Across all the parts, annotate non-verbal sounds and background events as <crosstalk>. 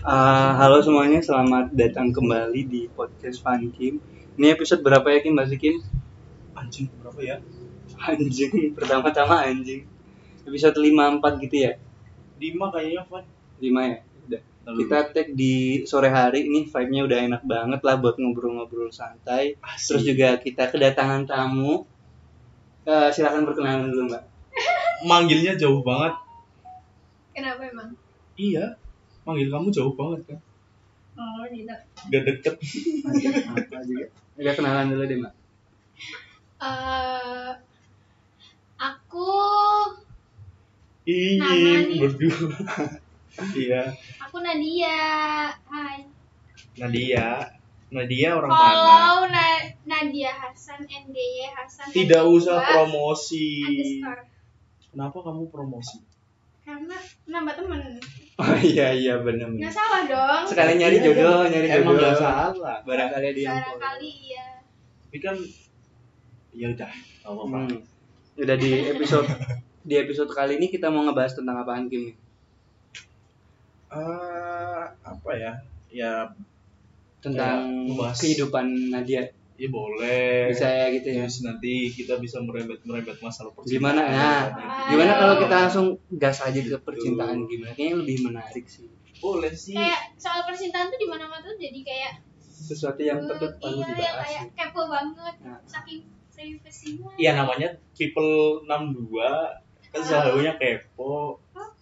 Ah, halo semuanya, selamat datang kembali di podcast Fun Kim. Ini episode berapa ya Kim, Mbak Sikin? anjing berapa ya Anjing, <laughs> pertama-tama anjing. Episode 54 gitu ya? lima kayaknya Fat 5 ya? Udah. Kita tag di sore hari, ini vibe-nya udah enak banget lah buat ngobrol-ngobrol santai. Terus juga kita kedatangan tamu. Eh, silahkan perkenalan dulu Mbak. manggilnya jauh banget Kenapa emang? iya manggil kamu jauh banget kan Oh, tidak. gak deket Apa juga? Ya kenalan dulu deh Mbak. Eh, aku Nama ingin nih. berdua <laughs> iya aku Nadia. Hai. Nadia Nadia orang mana Follow Na- Nadia Hasan NDY Hasan. tidak NDY usah promosi Underscore. kenapa kamu promosi Karena nambah temen. Oh iya, iya bener Nggak salah dong. Sekali nyari jodoh, nyari emang jodoh. gak salah Barangkali ada yang follow. Barangkali iya. tapi kan ya udah gak apa-apa Hmm. Udah di episode di episode kali ini kita mau ngebahas tentang apaan Kim? Eh, apa ya ya Tentang Kayak ngebahas. kehidupan Nadia. ya boleh Bisa ya gitu ya. Terus nanti kita bisa merembet-merembet masalah percintaan. Gimana? Nah, Ayo. Gimana kalau kita langsung gas aja Gitu. ke percintaan gimana? Kayaknya lebih menarik sih. boleh sih? Kayak soal percintaan tuh di mana mana tuh jadi kayak Sesuatu yang eh, patut perlu iya, yang dibahas. kayak kepo banget. Nah. Saking privasinya. Iya namanya people 62 kan selalunya kepo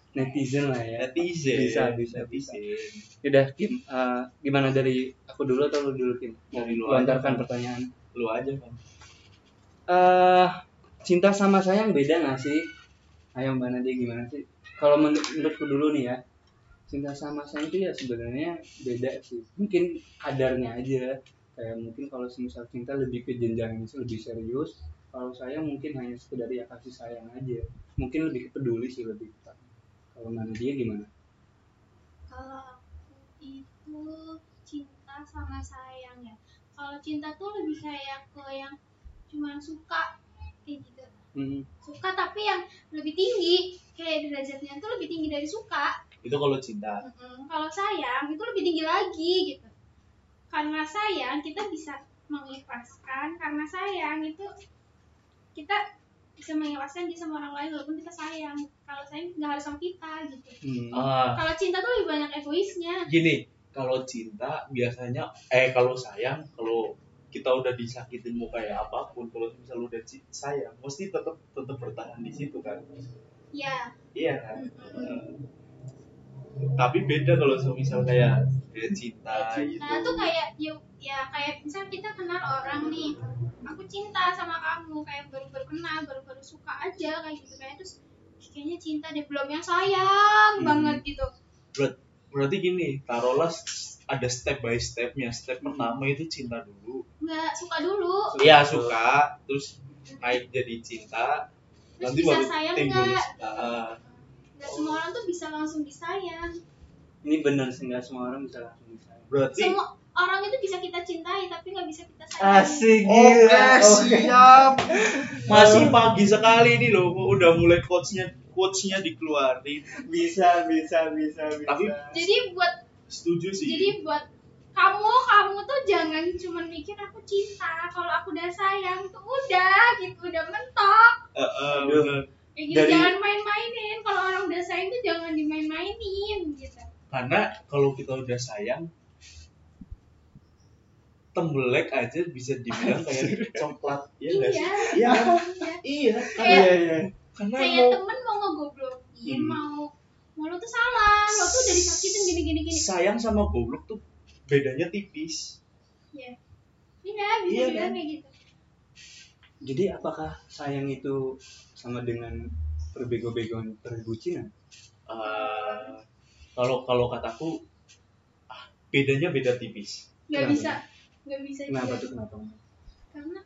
Netizen lah ya. netizen. Bisa, bisa, bisa. netizen. Udah Kim, eh, gimana dari aku dulu atau lu dulu Kim? Dari lu Lontarkan aja. kan. pertanyaan. Lu aja kan. eh cinta sama sayang beda nggak sih? Ayo Mbak Nadia gimana sih? Kalau men- menurutku dulu nih ya, cinta sama sayang itu ya sebenarnya beda sih. Mungkin kadarnya aja. Kayak mungkin kalau semisal cinta lebih ke jenjang yang lebih serius, kalau sayang mungkin hanya sekedar ya kasih sayang aja. Mungkin lebih ke peduli sih lebih. tepat. Kalau Mbak Nadia gimana? kalau aku itu cinta sama sayang ya kalau cinta tuh lebih kayak ke yang cuman suka kayak gitu Hmm, suka tapi yang lebih tinggi kayak derajatnya tuh lebih tinggi dari suka Itu kalau cinta. Mm-mm. kalau sayang itu lebih tinggi lagi gitu karena sayang kita bisa mengikhlaskan karena sayang itu kita bisa mengikhlaskan dia sama orang lain walaupun kita sayang kalau sayang nggak harus sama kita gitu hmm. Ah, kalau cinta tuh lebih banyak egoisnya gini, kalau cinta biasanya eh kalau sayang kalau kita udah disakitin mau kayak apapun kalau misalnya udah ci- sayang mesti tetap tetap bertahan di situ kan. Ya, Iya kan? Mm-mm. Eh, tapi beda kalau semisal kayak eh, cinta, gitu. nah tuh kayak ya, ya kayak misal kita kenal orang nih, aku cinta sama kamu kayak baru baru kenal, baru baru suka aja kayak gitu kayak terus kayaknya cinta deh belum yang sayang Hmm. banget gitu. Berat- berarti gini taruhlah s- ada step by stepnya step pertama itu cinta dulu Nggak suka dulu, iya suka terus naik jadi cinta Terus nanti bisa baru sayang timbul nggak? cinta Ah, nggak semua orang tuh bisa langsung disayang. Ini bener sih nggak semua orang bisa langsung disayang. berarti Semua orang itu bisa kita cintai tapi nggak bisa kita sayang. Asik iya. Oh, gila. <laughs> siap. Masih pagi sekali ini loh, udah mulai quotes-nya quotes-nya dikeluarin. Bisa, bisa, bisa, bisa. Tapi- Jadi buat Setuju sih. jadi buat kamu kamu tuh jangan cuman mikir aku cinta, kalau aku udah sayang tuh udah gitu udah mentok. Eh, eh, Aduh. bener. Kayak gitu, Dari- jangan main-mainin. Kalau orang udah sayang tuh jangan dimain-mainin gitu. karena kalau kita udah sayang tembelek aja bisa dibilang kayak coklat ya nggak sih iya. iya iya. iya Kayak- karena, karena Kayak mau temen mau ngegoblokin, Hmm. mau mau lo tuh salah, lo tuh udah disakitin gini-gini gini. sayang sama goblok tuh bedanya tipis Iya. Iya, bisa Iya, dibilang kan? kayak gitu. Jadi apakah sayang itu sama dengan perbego-begoan perbucinan? Eh, kalau kalau kataku ah, bedanya beda tipis Kenapa? Gak bisa. Gak bisa Kenapa dibilang. tuh kenapa? Karena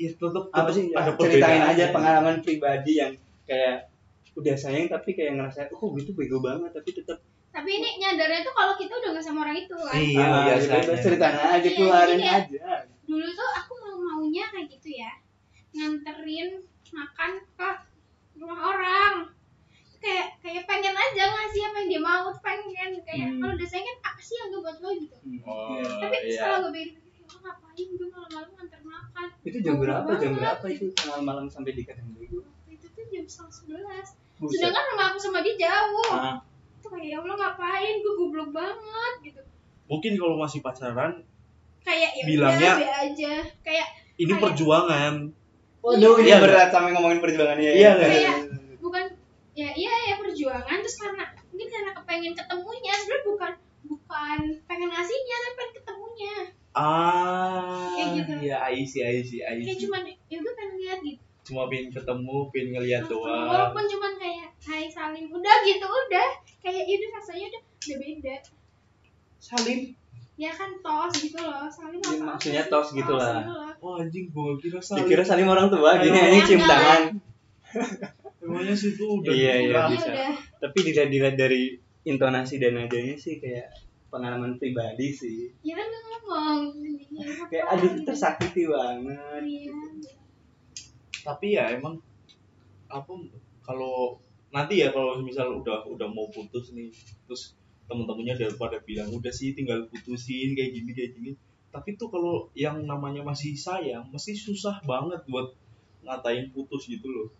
ya tetap Apa sih? ada ceritain perbedaan. aja pengalaman pribadi yang kayak udah sayang tapi kayak ngerasa oh gue tuh bego banget tapi tetap tapi ini nyadarnya tuh kalau kita udah gak sama orang itu kan. Iya, Ah, biasanya. ya udah, ceritain aja Iya, keluarin iya. aja. Dulu tuh aku mau maunya kayak gitu ya. Nganterin makan ke rumah orang. Kayak kayak pengen aja ngasih apa yang dia mau tuh pengen kayak Hmm. kalau udah udah sayang kan apa sih yang gue buat lo gitu Oh, Iya. tapi setelah iya. gue pikir lo ngapain gue malam-malam antar makan itu jam berapa jam Malam. berapa itu malam-malam sampai di Kateng Bego Waktu itu tuh jam setengah sebelas buset sedangkan rumah aku sama dia jauh Ah, tuh kayak ya Allah ngapain gue goblok banget gitu Mungkin kalau masih pacaran, kayak ya Bilangnya- udah be aja kayak ini Kayak- perjuangan. waduh ini Iya. berat sampai ngomongin perjuangannya ya. Iya, nggak? <laughs> Kayak- bukan ya iya ya perjuangan terus karena mungkin karena kepengen ketemunya sebenarnya bukan bukan pengen ngasihnya tapi pengen ketemunya Ah, Kayak gitu. iya, I see, I see, Iya. I kayak see. cuman ya gue pengen lihat gitu Cuma pengen ketemu, pengen Iya, ngeliat doang. walaupun cuman kayak hai salim udah gitu udah kayak itu rasanya udah udah beda Salim. ya kan tos gitu loh salim Ya, apa maksudnya sih? tos gitu lah. gitu loh. Oh anjing, gua kira salim. dikira saling orang tua gini Ayo. anjing cium Enggak. tangan Emangnya situ udah Iya, iya, ya bisa. udah tapi dilihat-dilihat dari intonasi dan nadanya sih kayak pengalaman pribadi sih ya kan gue ngomong ya, kayak apa aduh gitu. tersakiti banget Iya. tapi ya emang apa kalau nanti ya kalau misal udah udah mau putus nih terus temen-temennya daripada bilang udah sih tinggal putusin kayak gini kayak gini tapi tuh kalau yang namanya masih sayang mesti susah banget buat ngatain putus gitu loh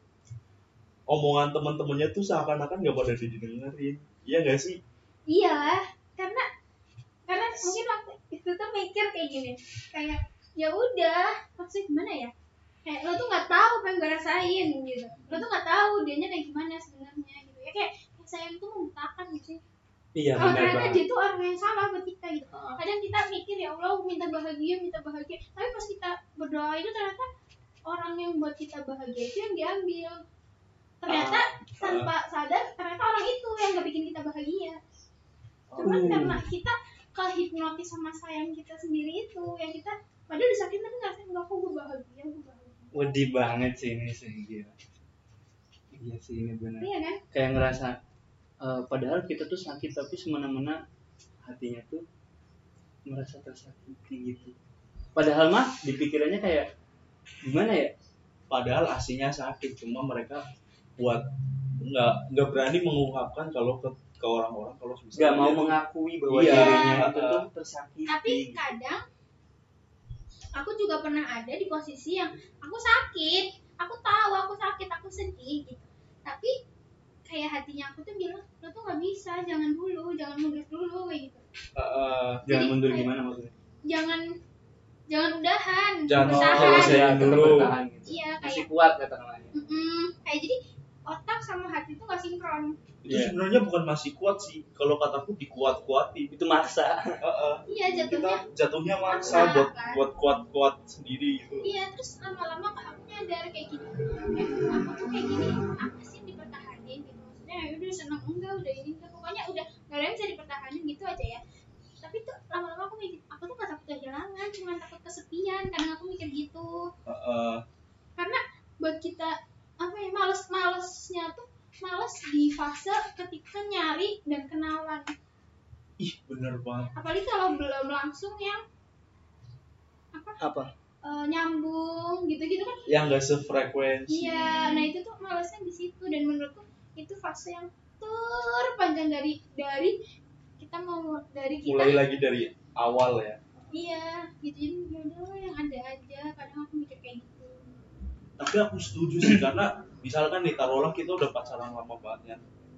omongan teman-temannya tuh seakan-akan nggak pada didengerin iya gak sih iya karena karena mungkin waktu itu tuh mikir kayak gini kayak ya udah maksudnya gimana ya kayak lo tuh nggak tahu apa yang gue rasain gitu lo tuh nggak tahu dianya kayak gimana sebenarnya gitu ya kayak kayak sayang tuh membutakan gitu sih iya kalau benar ternyata banget dia tuh orang yang salah buat kita gitu kadang kita mikir ya Allah minta bahagia minta bahagia tapi pas kita berdoa itu ternyata orang yang buat kita bahagia itu yang diambil ternyata Ah, tanpa sadar ternyata orang itu yang gak bikin kita bahagia cuman Oh. karena kita kehipnotis sama sayang kita sendiri itu yang kita padahal disakitin tapi nggak sayang nggak kok gue bahagia gue bahagia Wedih banget sih ini sih gila. Iya sih ini benar. iya kan Kayak ngerasa eh, padahal kita tuh sakit tapi semena-mena hatinya tuh merasa tersakiti gitu. Padahal mah di pikirannya kayak gimana ya? padahal aslinya sakit cuma mereka buat nggak nggak berani mengungkapkan kalau ke, ke orang-orang kalau misalnya Gak mau dia tuh- mengakui bahwa Iya. dirinya itu tuh tersakiti. tapi kadang aku juga pernah ada di posisi yang aku sakit aku tahu aku sakit aku sedih gitu tapi kayak hatinya aku tuh bilang lo tuh nggak bisa jangan dulu jangan mundur dulu kayak gitu Heeh. Jangan Jadi mundur kayak- gimana maksudnya? jangan jangan udahan Jangan bertahan. mau selesai Iya, tetap dulu. bertahan gitu. Iya, Masih kayak- kuat katakanlah. ya. Mm-mm. kayak jadi otak sama hati tuh nggak sinkron itu Iya. sebenarnya bukan masih kuat sih kalau kataku dikuat-kuatin Itu maksa. Heeh. iya kita jatuhnya jatuhnya maksa Maksa, buat kan? buat kuat-kuat sendiri gitu iya terus lama-lama kak aku nyadar kayak gini kayak aku tuh kayak gini apa sih yang dipertahanin gitu maksudnya ya udah seneng enggak udah ini enggak pokoknya udah nggak ada yang bisa dipertahanin gitu aja ya tapi tuh lama-lama aku mikir aku tuh gak takut kehilangan cuma takut kesepian karena aku mikir gitu Heeh. karena buat kita apa ya males malesnya tuh males di fase ketika nyari dan kenalan ih bener banget apalagi kalau belum langsung yang apa Apa? eh, nyambung gitu-gitu kan yang gak sefrekuensi iya nah itu tuh malesnya di situ dan menurutku itu fase yang terpanjang dari dari kita mau dari kita mulai lagi dari awal ya iya gitu jadi ya udah lah, yang ada aja kadang aku mikir kayak gitu tapi aku setuju sih karena misalkan nih taruhlah kita udah pacaran lama banget ya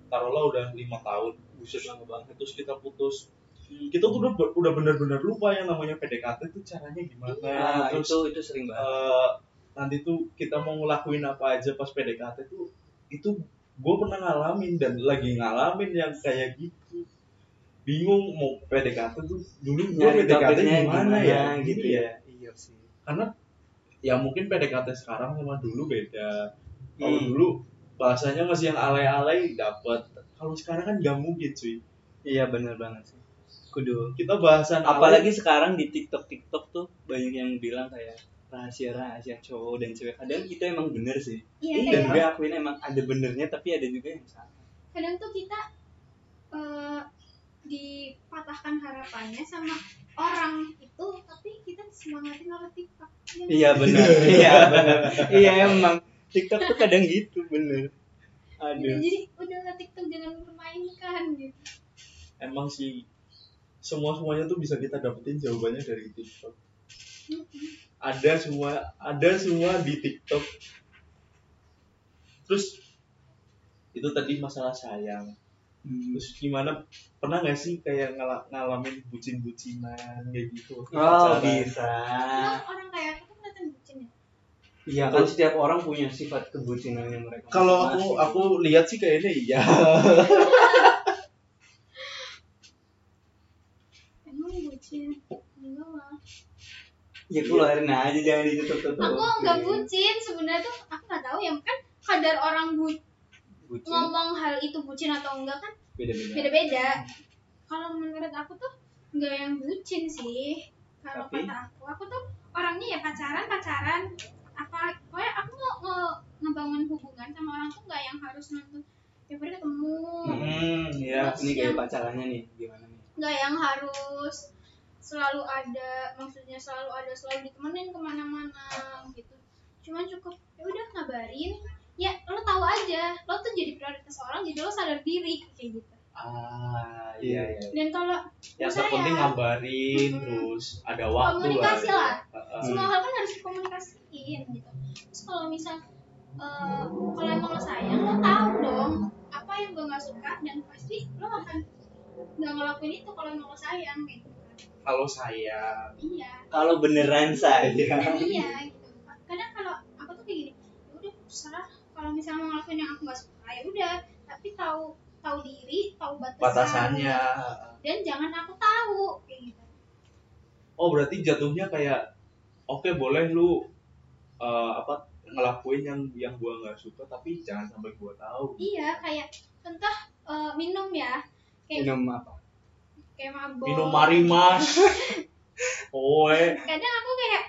taruhlah udah lima tahun buset lama banget terus kita putus Hmm. kita tuh udah udah benar-benar lupa yang namanya PDKT itu caranya gimana Nah, terus itu itu sering banget. eh, nanti tuh kita mau ngelakuin apa aja pas PDKT tuh itu gue pernah ngalamin dan lagi ngalamin yang kayak gitu bingung mau PDKT tuh dulu gue Nyari PDKT topiknya gimana, ya Iya, gitu Iya. ya. Iya sih. karena ya mungkin PDKT sekarang sama dulu beda kalau Hmm. dulu bahasanya masih yang alay-alay dapat kalau sekarang kan gak mungkin cuy Iya benar banget sih. Kudu. kita bahasan Apalagi sekarang di TikTok TikTok tuh banyak yang bilang kayak rahasia rahasia cowok dan cewek. Kadang itu emang bener sih. iya Dan kayak gue akuin emang ada benernya tapi ada juga yang salah. kadang tuh kita eh, dipatahkan harapannya sama orang itu tapi kita semangatin oleh TikTok Iya Iya <laughs> benar. iya benar. Iya emang TikTok tuh kadang gitu bener. Gitu, Aduh. jadi udah lah TikTok jangan dipermainkan gitu emang sih semua semuanya tuh bisa kita dapetin jawabannya dari TikTok ada semua ada semua di TikTok terus itu tadi masalah sayang terus gimana pernah nggak sih kayak ngala- ngalamin bucin-bucinan kayak gitu waktu Oh pacaran? bisa. Emang orang kayak aku tuh kelihatan bucin ya Iya kan setiap orang punya sifat kebucinannya mereka. kalau aku masing-masing. aku lihat sih kayaknya iya emang bucin enggak lah ya keluarin aja jangan ditutup-tutup. aku nggak bucin sebenarnya tuh aku nggak tahu ya kan kadar orang bu- Bucin ngomong hal itu bucin atau enggak kan beda-beda. beda-beda kalau menurut aku tuh nggak yang bucin sih kalau Tapi- kata aku aku tuh orangnya ya pacaran pacaran apa pokoknya aku mau nge- ngebangun hubungan sama orang tuh nggak yang harus nonton tiap hari ketemu Hmm, ya Terus ini kayak yang- pacarannya nih gimana nih? nggak yang harus selalu ada maksudnya selalu ada selalu ditemenin kemana-mana gitu cuman cukup ya udah ngabarin ya lo tahu aja lo tuh jadi prioritas orang jadi lo sadar diri kayak gitu Ah, iya iya. dan kalau yang Ya, Sayang. terpenting ngabarin Mm-mm. terus ada waktu Komunikasi lah. Heeh. semua hal kan harus dikomunikasiin gitu terus kalau misal eh, kalau emang lo sayang lo tahu dong apa yang gue nggak suka dan pasti lo akan nggak ngelakuin itu kalau emang lo sayang kayak gitu kalau sayang iya Kalau beneran dan saya. iya gitu kadang kalau aku tuh kayak gini "Ya udah terserah kalau misalnya mau ngelakuin yang aku nggak suka ya udah tapi tahu tahu diri tahu batasan batasannya dan jangan aku tahu kayak gitu oh berarti jatuhnya kayak oke boleh lu eh, apa ngelakuin yang yang gua nggak suka tapi jangan sampai gua tahu iya kayak entah eh, minum ya kayak Minum apa? kayak mabok minum mari mas oe kadang aku kayak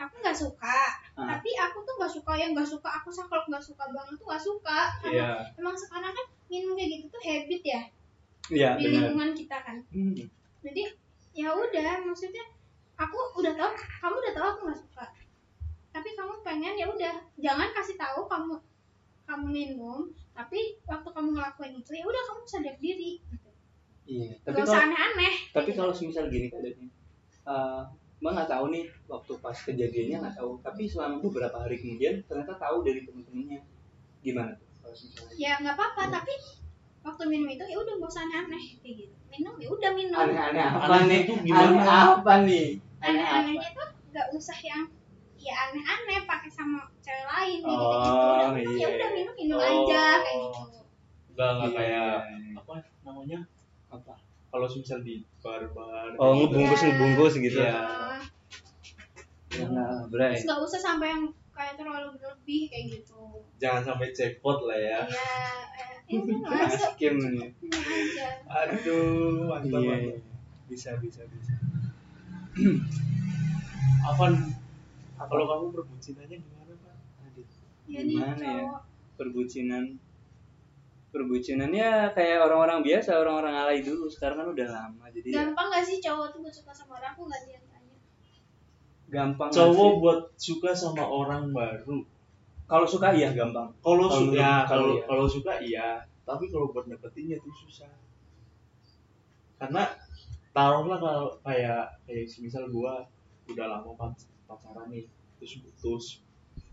aku nggak suka Ah. tapi aku tuh nggak suka yang nggak suka aku sih kalau nggak suka banget tuh nggak suka karena iya emang sekarang kan minum kayak gitu tuh habit ya Iya, di benar. lingkungan kita kan Hmm. jadi ya udah maksudnya aku udah tahu kamu udah tahu aku nggak suka tapi kamu pengen ya udah jangan kasih tahu kamu kamu minum tapi waktu kamu ngelakuin itu ya udah kamu sadar diri gitu. Iya, tapi Gak kalau usah aneh-aneh tapi kalau semisal gini keadaannya eh mbak nggak tahu nih waktu pas kejadiannya nggak tahu tapi selama beberapa hari kemudian ternyata tahu dari temen-temennya gimana tuh kalau misalnya ya nggak apa-apa tapi waktu minum itu ya udah gak usah aneh-aneh kayak gitu minum ya udah minum aneh-aneh apa Aneh nih itu gimana? aneh apa nih aneh apa aneh-anehnya tuh nggak usah yang ya aneh-aneh pakai sama cewek lain kayak Oh, gitu gitu ya udah iya. Oh, minum minum Oh. aja kayak gitu nggak nggak Iya, kayak iya. apa namanya apa kalau misal di bar-bar oh kayak gitu. ngebungkus- ngebungkus ngebungkus gitu gitu. Iya. Nah, ya nggak berai terus nggak usah sampai yang kayak terlalu berlebih kayak gitu jangan sampai jackpot lah ya ya eh, ini masuk Askem nih minum aja aduh mantap Iya, mantap. iya. bisa bisa bisa Afan Apa? kalau kamu perbucinannya gimana pak Aduh, ya nih Gimana ya? cowok perbucinan perbucinannya kayak orang-orang biasa orang-orang alay dulu sekarang kan udah lama jadi ya gampang gak sih cowok tuh buat suka sama orang aku nggak dia tanya gampang nggak cowok sih? buat suka sama orang baru kalau suka iya gampang kalau Kalau suka iya, kalau iya. kalau suka iya tapi kalau buat dapetinnya tuh susah karena taruhlah kalau kayak kayak misal gua udah lama pac- pacaran nih terus putus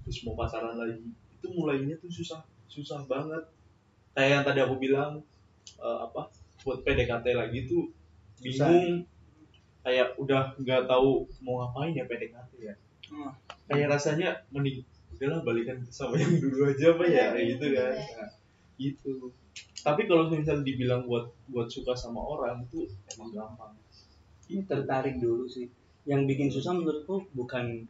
terus mau pacaran lagi itu mulainya tuh susah susah banget kayak yang tadi aku bilang eh, apa buat PDKT lagi tuh Susah. bingung kayak udah nggak tahu mau ngapain ya PDKT ya Hmm. kayak rasanya mending udahlah balikan sama yang dulu aja apa ya kayak gitu kan Nah, gitu tapi kalau misalnya dibilang buat buat suka sama orang itu emang gampang ini tertarik dulu sih yang bikin susah menurutku bukan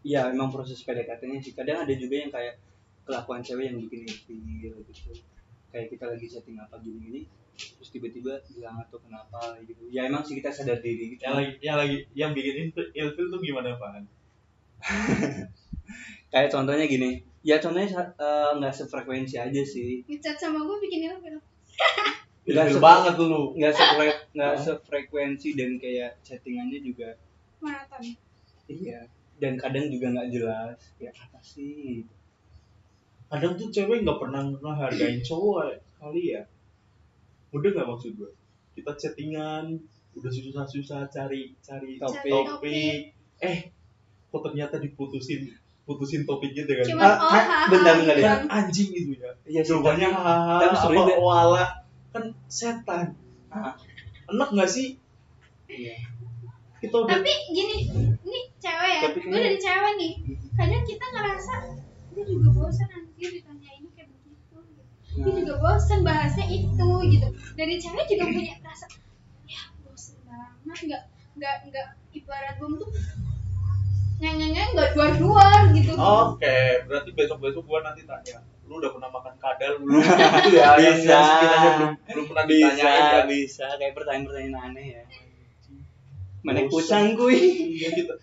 ya emang proses PDKT-nya sih kadang ada juga yang kayak kelakuan cewek yang bikin ilfil gitu kayak kita lagi chatting apa gini gini terus tiba-tiba hilang atau kenapa gitu ya emang sih kita sadar diri gitu yang Ya, lagi yang lagi yang bikin ilfil- ilfil tuh gimana pan kayak contohnya gini ya contohnya sa- eh, nggak sefrekuensi aja sih ngecat sama gue bikin ilfil Nggak ilfil suka. banget tuh lu nggak <laughs> sefre- nggak Oh. sefrekuensi dan kayak chattingannya juga maraton iya dan kadang juga nggak jelas ya apa sih kadang tuh cewek nggak pernah ngehargain cowok kali ya udah nggak maksud gue kita chattingan udah susah-susah cari cari Topik. topik. eh kok ternyata diputusin putusin gitu topiknya dengan Cuman Ah, oh kan, haha. bentar, bentar, kan bentar. gitu. anjing gitu ya Iya sih, jawabannya tapi- hahaha tapi seru apa juga. koala kan setan Ah. enak nggak sih Iya. kita udah Tapi gini, ini cewek ya. Tapi Gue dari cewek nih. Kadang kita ngerasa gue juga bosan anjir ditanya ini kayak begitu. Gue Nah. juga bosan bahasnya itu gitu. Dari cewek juga punya rasa ya bosan banget nggak nggak nggak ibarat gue tuh nyeng nyeng nyeng nggak duar duar gitu. Oh. oke berarti besok besok gua nanti tanya lu udah pernah makan kadal belum <laughs> Bisa. Yang- yang sekiranya ya, belum belum pernah bisa ditanyain Iya. ya. bisa kayak pertanyaan-pertanyaan aneh ya mana Bosen. kucang kui Iya, kita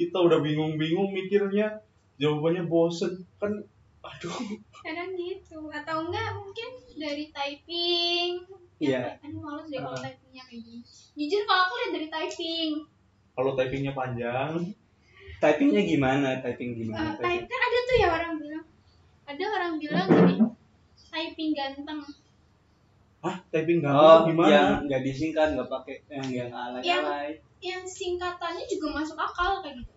kita udah bingung-bingung mikirnya jawabannya bosen kan aduh kadang gitu atau enggak mungkin dari typing Iya. Kan, aduh males deh kalau Uh-uh. typingnya kayak gini jujur kalau aku lihat dari typing kalau typingnya panjang typingnya gimana typing Eh, gimana Gitu. type Oh, typing kan ada tuh ya orang bilang ada orang bilang gini typing ganteng ah typing nggak oh gimana yang nggak disingkat nggak pakai yang yang alay alay yang singkatannya juga masuk akal kayak gitu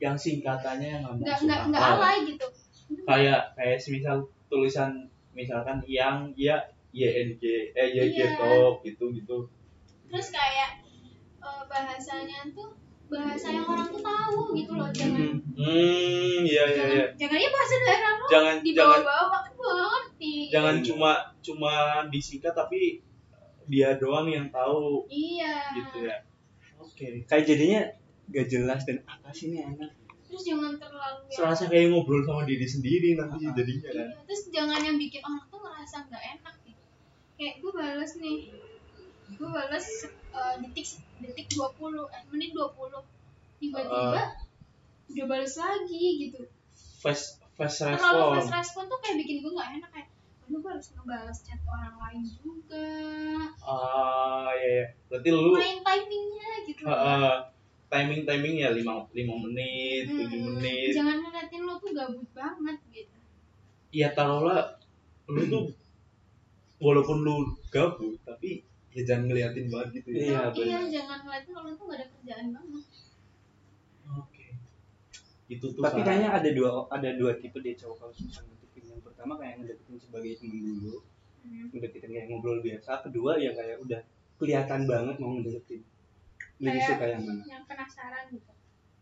yang singkatannya yang nggak nggak nggak alay gitu kayak kayak semisal tulisan misalkan yang ya YNG eh YG Iya. Talk, gitu gitu terus kayak eh, bahasanya tuh bahasa yang orang tuh tahu gitu loh jangan hmm iya iya iya jangan jangan ya bahasa daerah lo Jangan- dibawa-bawa kan gue nggak ngerti jangan cuma cuma disingkat tapi dia doang yang tahu iya gitu ya oke kayak jadinya gak jelas dan apa sih ini anak terus jangan terlalu yang- serasa kayak ngobrol sama diri sendiri nanti Ah. jadinya kan Iya, terus jangan yang bikin orang tuh ngerasa nggak enak gitu kayak gue balas nih gue balas eh, detik detik 20 eh menit 20 tiba-tiba Eh. dia balas lagi gitu fast fast terlalu respon fast respon tuh kayak bikin gue nggak enak kayak aduh gue harus ngebalas chat orang lain juga ah ya ya berarti lu main timingnya gitu timing timing ya lima lima menit gitu, Hmm, tujuh menit jangan ngeliatin lo tuh gabut banget gitu ya taruhlah lu tuh Hmm. walaupun lu gabut tapi ya jangan ngeliatin banget gitu ya Iya, Nah, iya bener. jangan ngeliatin orang tuh gak ada kerjaan banget oke itu tuh tapi salah. kayaknya ada dua ada dua tipe deh cowok kalau susah ngedeketin yang pertama kayak ngedeketin sebagai temen dulu Hmm. ngedeketin kayak ngobrol biasa kedua yang kayak udah kelihatan banget mau ngedeketin lebih Kayak suka yang mana yang penasaran gitu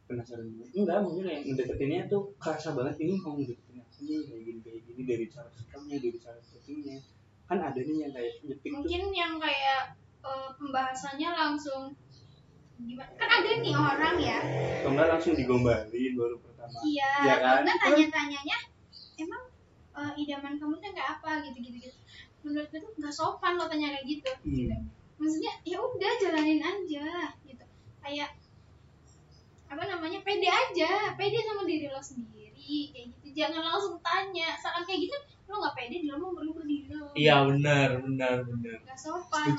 penasaran juga enggak mungkin yang ngedeketinnya tuh kerasa banget ini mau ngedeketin aku nih kayak gini kayak gini dari cara sikapnya dari cara settingnya kan ada nih yang kayak nyetik tuh mungkin yang kayak eh, pembahasannya langsung gimana kan ada nih orang ya atau enggak langsung digombalin baru pertama iya Iya kan? kan tanya-tanyanya emang eh, idaman kamu tuh kayak apa gitu gitu gitu menurut gue tuh nggak sopan lo tanya kayak gitu Iya. maksudnya ya udah jalanin aja gitu kayak apa namanya pede aja pede sama diri lo sendiri kayak gitu jangan langsung tanya saat kayak gitu lo nggak pede di lo mau berubah diri lo iya benar benar benar gak sopan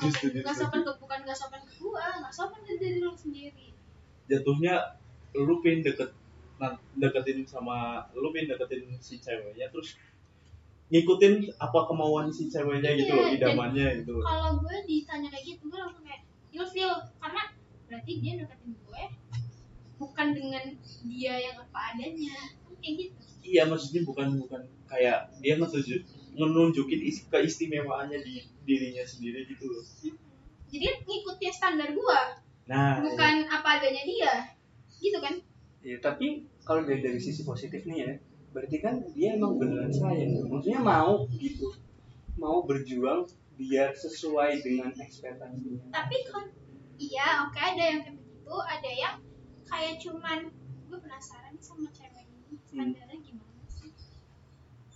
Setuju, gak- setuju, gak setuju. sopan ke bukan gak sopan ke gua gak sopan ke diri lu sendiri jatuhnya lu pengen deket nah, deketin sama lu pengen deketin si ceweknya terus ngikutin apa kemauan si ceweknya gitu loh Iya, dan- idamannya gitu loh kalau gue ditanya kayak gitu gue langsung kayak ilfil karena berarti dia deketin gue bukan dengan dia yang apa adanya Kan kayak gitu iya maksudnya bukan bukan kayak dia ngetuju menunjukin is- keistimewaannya di dirinya sendiri gitu loh Mm-mm. jadi ngikutin standar gue nah bukan apa adanya dia gitu kan Ya, tapi kalau dari, dari sisi positif nih ya, berarti kan dia emang beneran sayang. tuh. Maksudnya mau gitu, mau berjuang biar sesuai dengan ekspektasinya. tapi kan iya oke ada yang kayak begitu ada yang kayak cuman gue penasaran nih sama cewek Hmm. ini standarnya gimana sih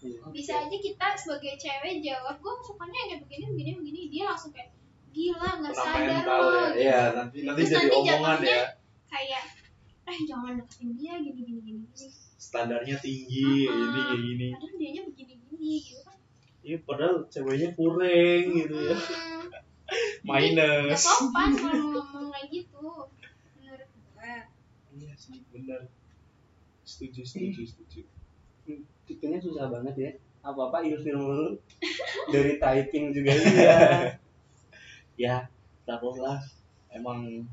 Iya. bisa aja kita sebagai cewek jawab gue sukanya yang kayak begini begini begini dia langsung kayak gila nggak Kenapa Nah, sadar mental lo ya? gitu. Iya, nanti nanti Terus jadi nanti omongan ya. jatuhnya kayak eh jangan deketin dia gini gini gini gini Standarnya tinggi, Ah, ini kayak gini. padahal dianya begini gini gitu kan Iya, padahal ceweknya kurang gitu ya. Hmm, jadi nggak Minus. sopan kalau ngomong kayak gitu menurut gue Iya sih, benar. Setuju, setuju, setuju. Hmm, Tipenya susah banget <laughs> iya. ya. Apa apa ilfil mulu. dari typing juga iya. ya takutlah emang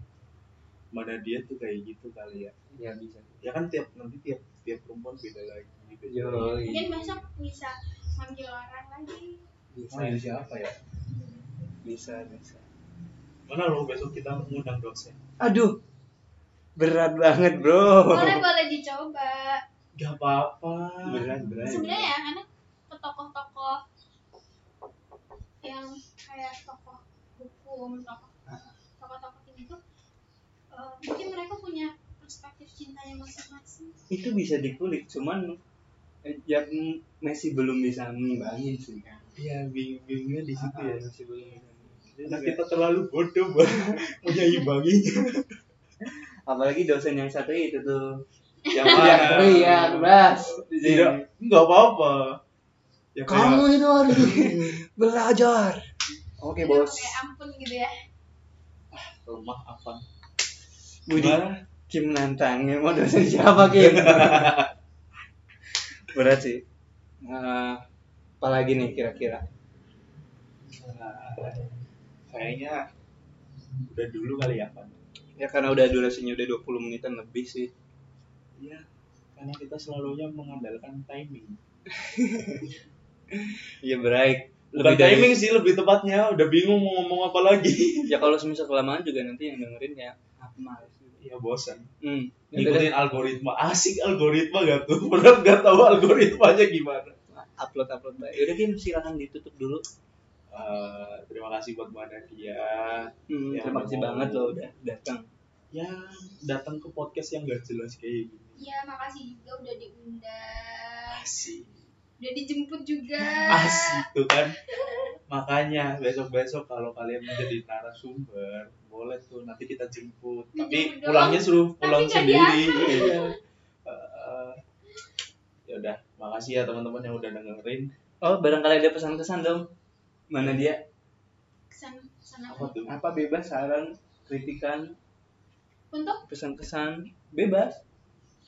mana dia tuh kayak gitu kali ya ya bisa ya kan tiap nanti tiap tiap perempuan beda lagi beda lagi. Gitu. Yoi. Mungkin besok bisa manggil orang lagi. Oh, Mau iya, jadi siapa ya bisa bisa mana lo besok kita ngundang dosen aduh berat banget bro Boleh boleh dicoba. gak apa-apa berat berat Sebenarnya ya karena ke tokoh-tokoh yang kayak tokoh hukum, tokoh tokoh-tokoh ini tuh eh, mungkin mereka punya perspektif cintanya masing-masing. itu bisa dikulik cuman eh, ya m- masih belum bisa mengembangin sih kan iya bingung-bingungnya di situ Ah, ya masih belum bisa mengembangin. nah kita terlalu bodoh buat <laughs> punya imbanginya <laughs> apalagi dosen yang satu itu tuh Iya. yang ya iya bebas tidak nggak apa-apa ya kayak itu harus belajar oke Jadi bos Kayak ampun gitu ya. lemah apa Budi Gimana? Kim nantangnya mau dosen siapa Kim <laughs> berat sih Eh, apalagi nih kira-kira Nah, kayaknya udah dulu kali ya Pan ya karena udah durasinya udah 20 menitan lebih sih Iya, karena kita selalunya mengandalkan timing. Iya baik. Bukan timing sih lebih tepatnya, udah bingung mau ngomong apa lagi. Ya kalau semisal kelamaan juga nanti yang dengerin ya apa males. Iya bosan. Hmm. Ngikutin algoritma, asik algoritma gak tuh? <laughs> Berat gak tahu algoritmanya gimana. upload upload baik. Udah Kim silakan ditutup dulu. Eh, terima kasih buat Mbak Nadia Hmm, Ya, terima kasih mau- banget loh udah datang. yang datang ke podcast yang gak jelas kayak gini. Iya, makasih juga udah diundang. Asik, Udah dijemput juga. asik tuh kan. Makanya besok-besok kalau kalian menjadi narasumber, boleh tuh nanti kita jemput. Tapi Dijemput pulangnya doang. suruh Tapi pulang nggak sendiri. diantar. Iya. Eh, ya udah, makasih ya teman-teman yang udah dengerin. Oh, barangkali ada pesan-pesan dong. Mana dia? Kesana, kesana. Apa tuh? Apa bebas saran, kritikan, Untuk pesan-pesan bebas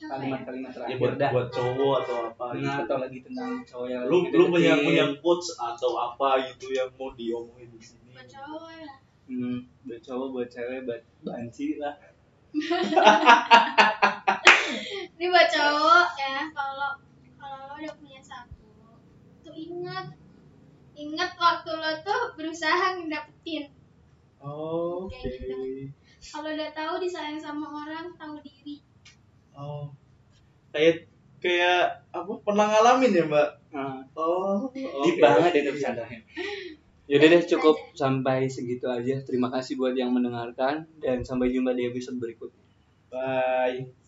apa ya? kalimat-kalimat Ya, terakhir buat, dah. buat cowok atau apa Nah, gitu. atau lagi tentang cowok yang Lu lagi lu punya deketin. punya quotes atau apa gitu yang mau diomongin di sini. Buat cowok lah. hmm, buat cowok buat cewek buat banci lah Ini buat cowok ya, kalau kalau lo udah punya satu, tuh ingat ingat waktu lo tuh berusaha ngedapetin. Oke. Kayak gitu. Kalau udah tahu disayang sama orang, tahu diri. Oh. Kayak kayak apa pernah ngalamin ya, Mbak? Ah. Oh, Deep banget itu bercandanya. Yaudah deh cukup sampai segitu aja. Terima kasih buat yang mendengarkan dan sampai jumpa di episode berikutnya. Bye.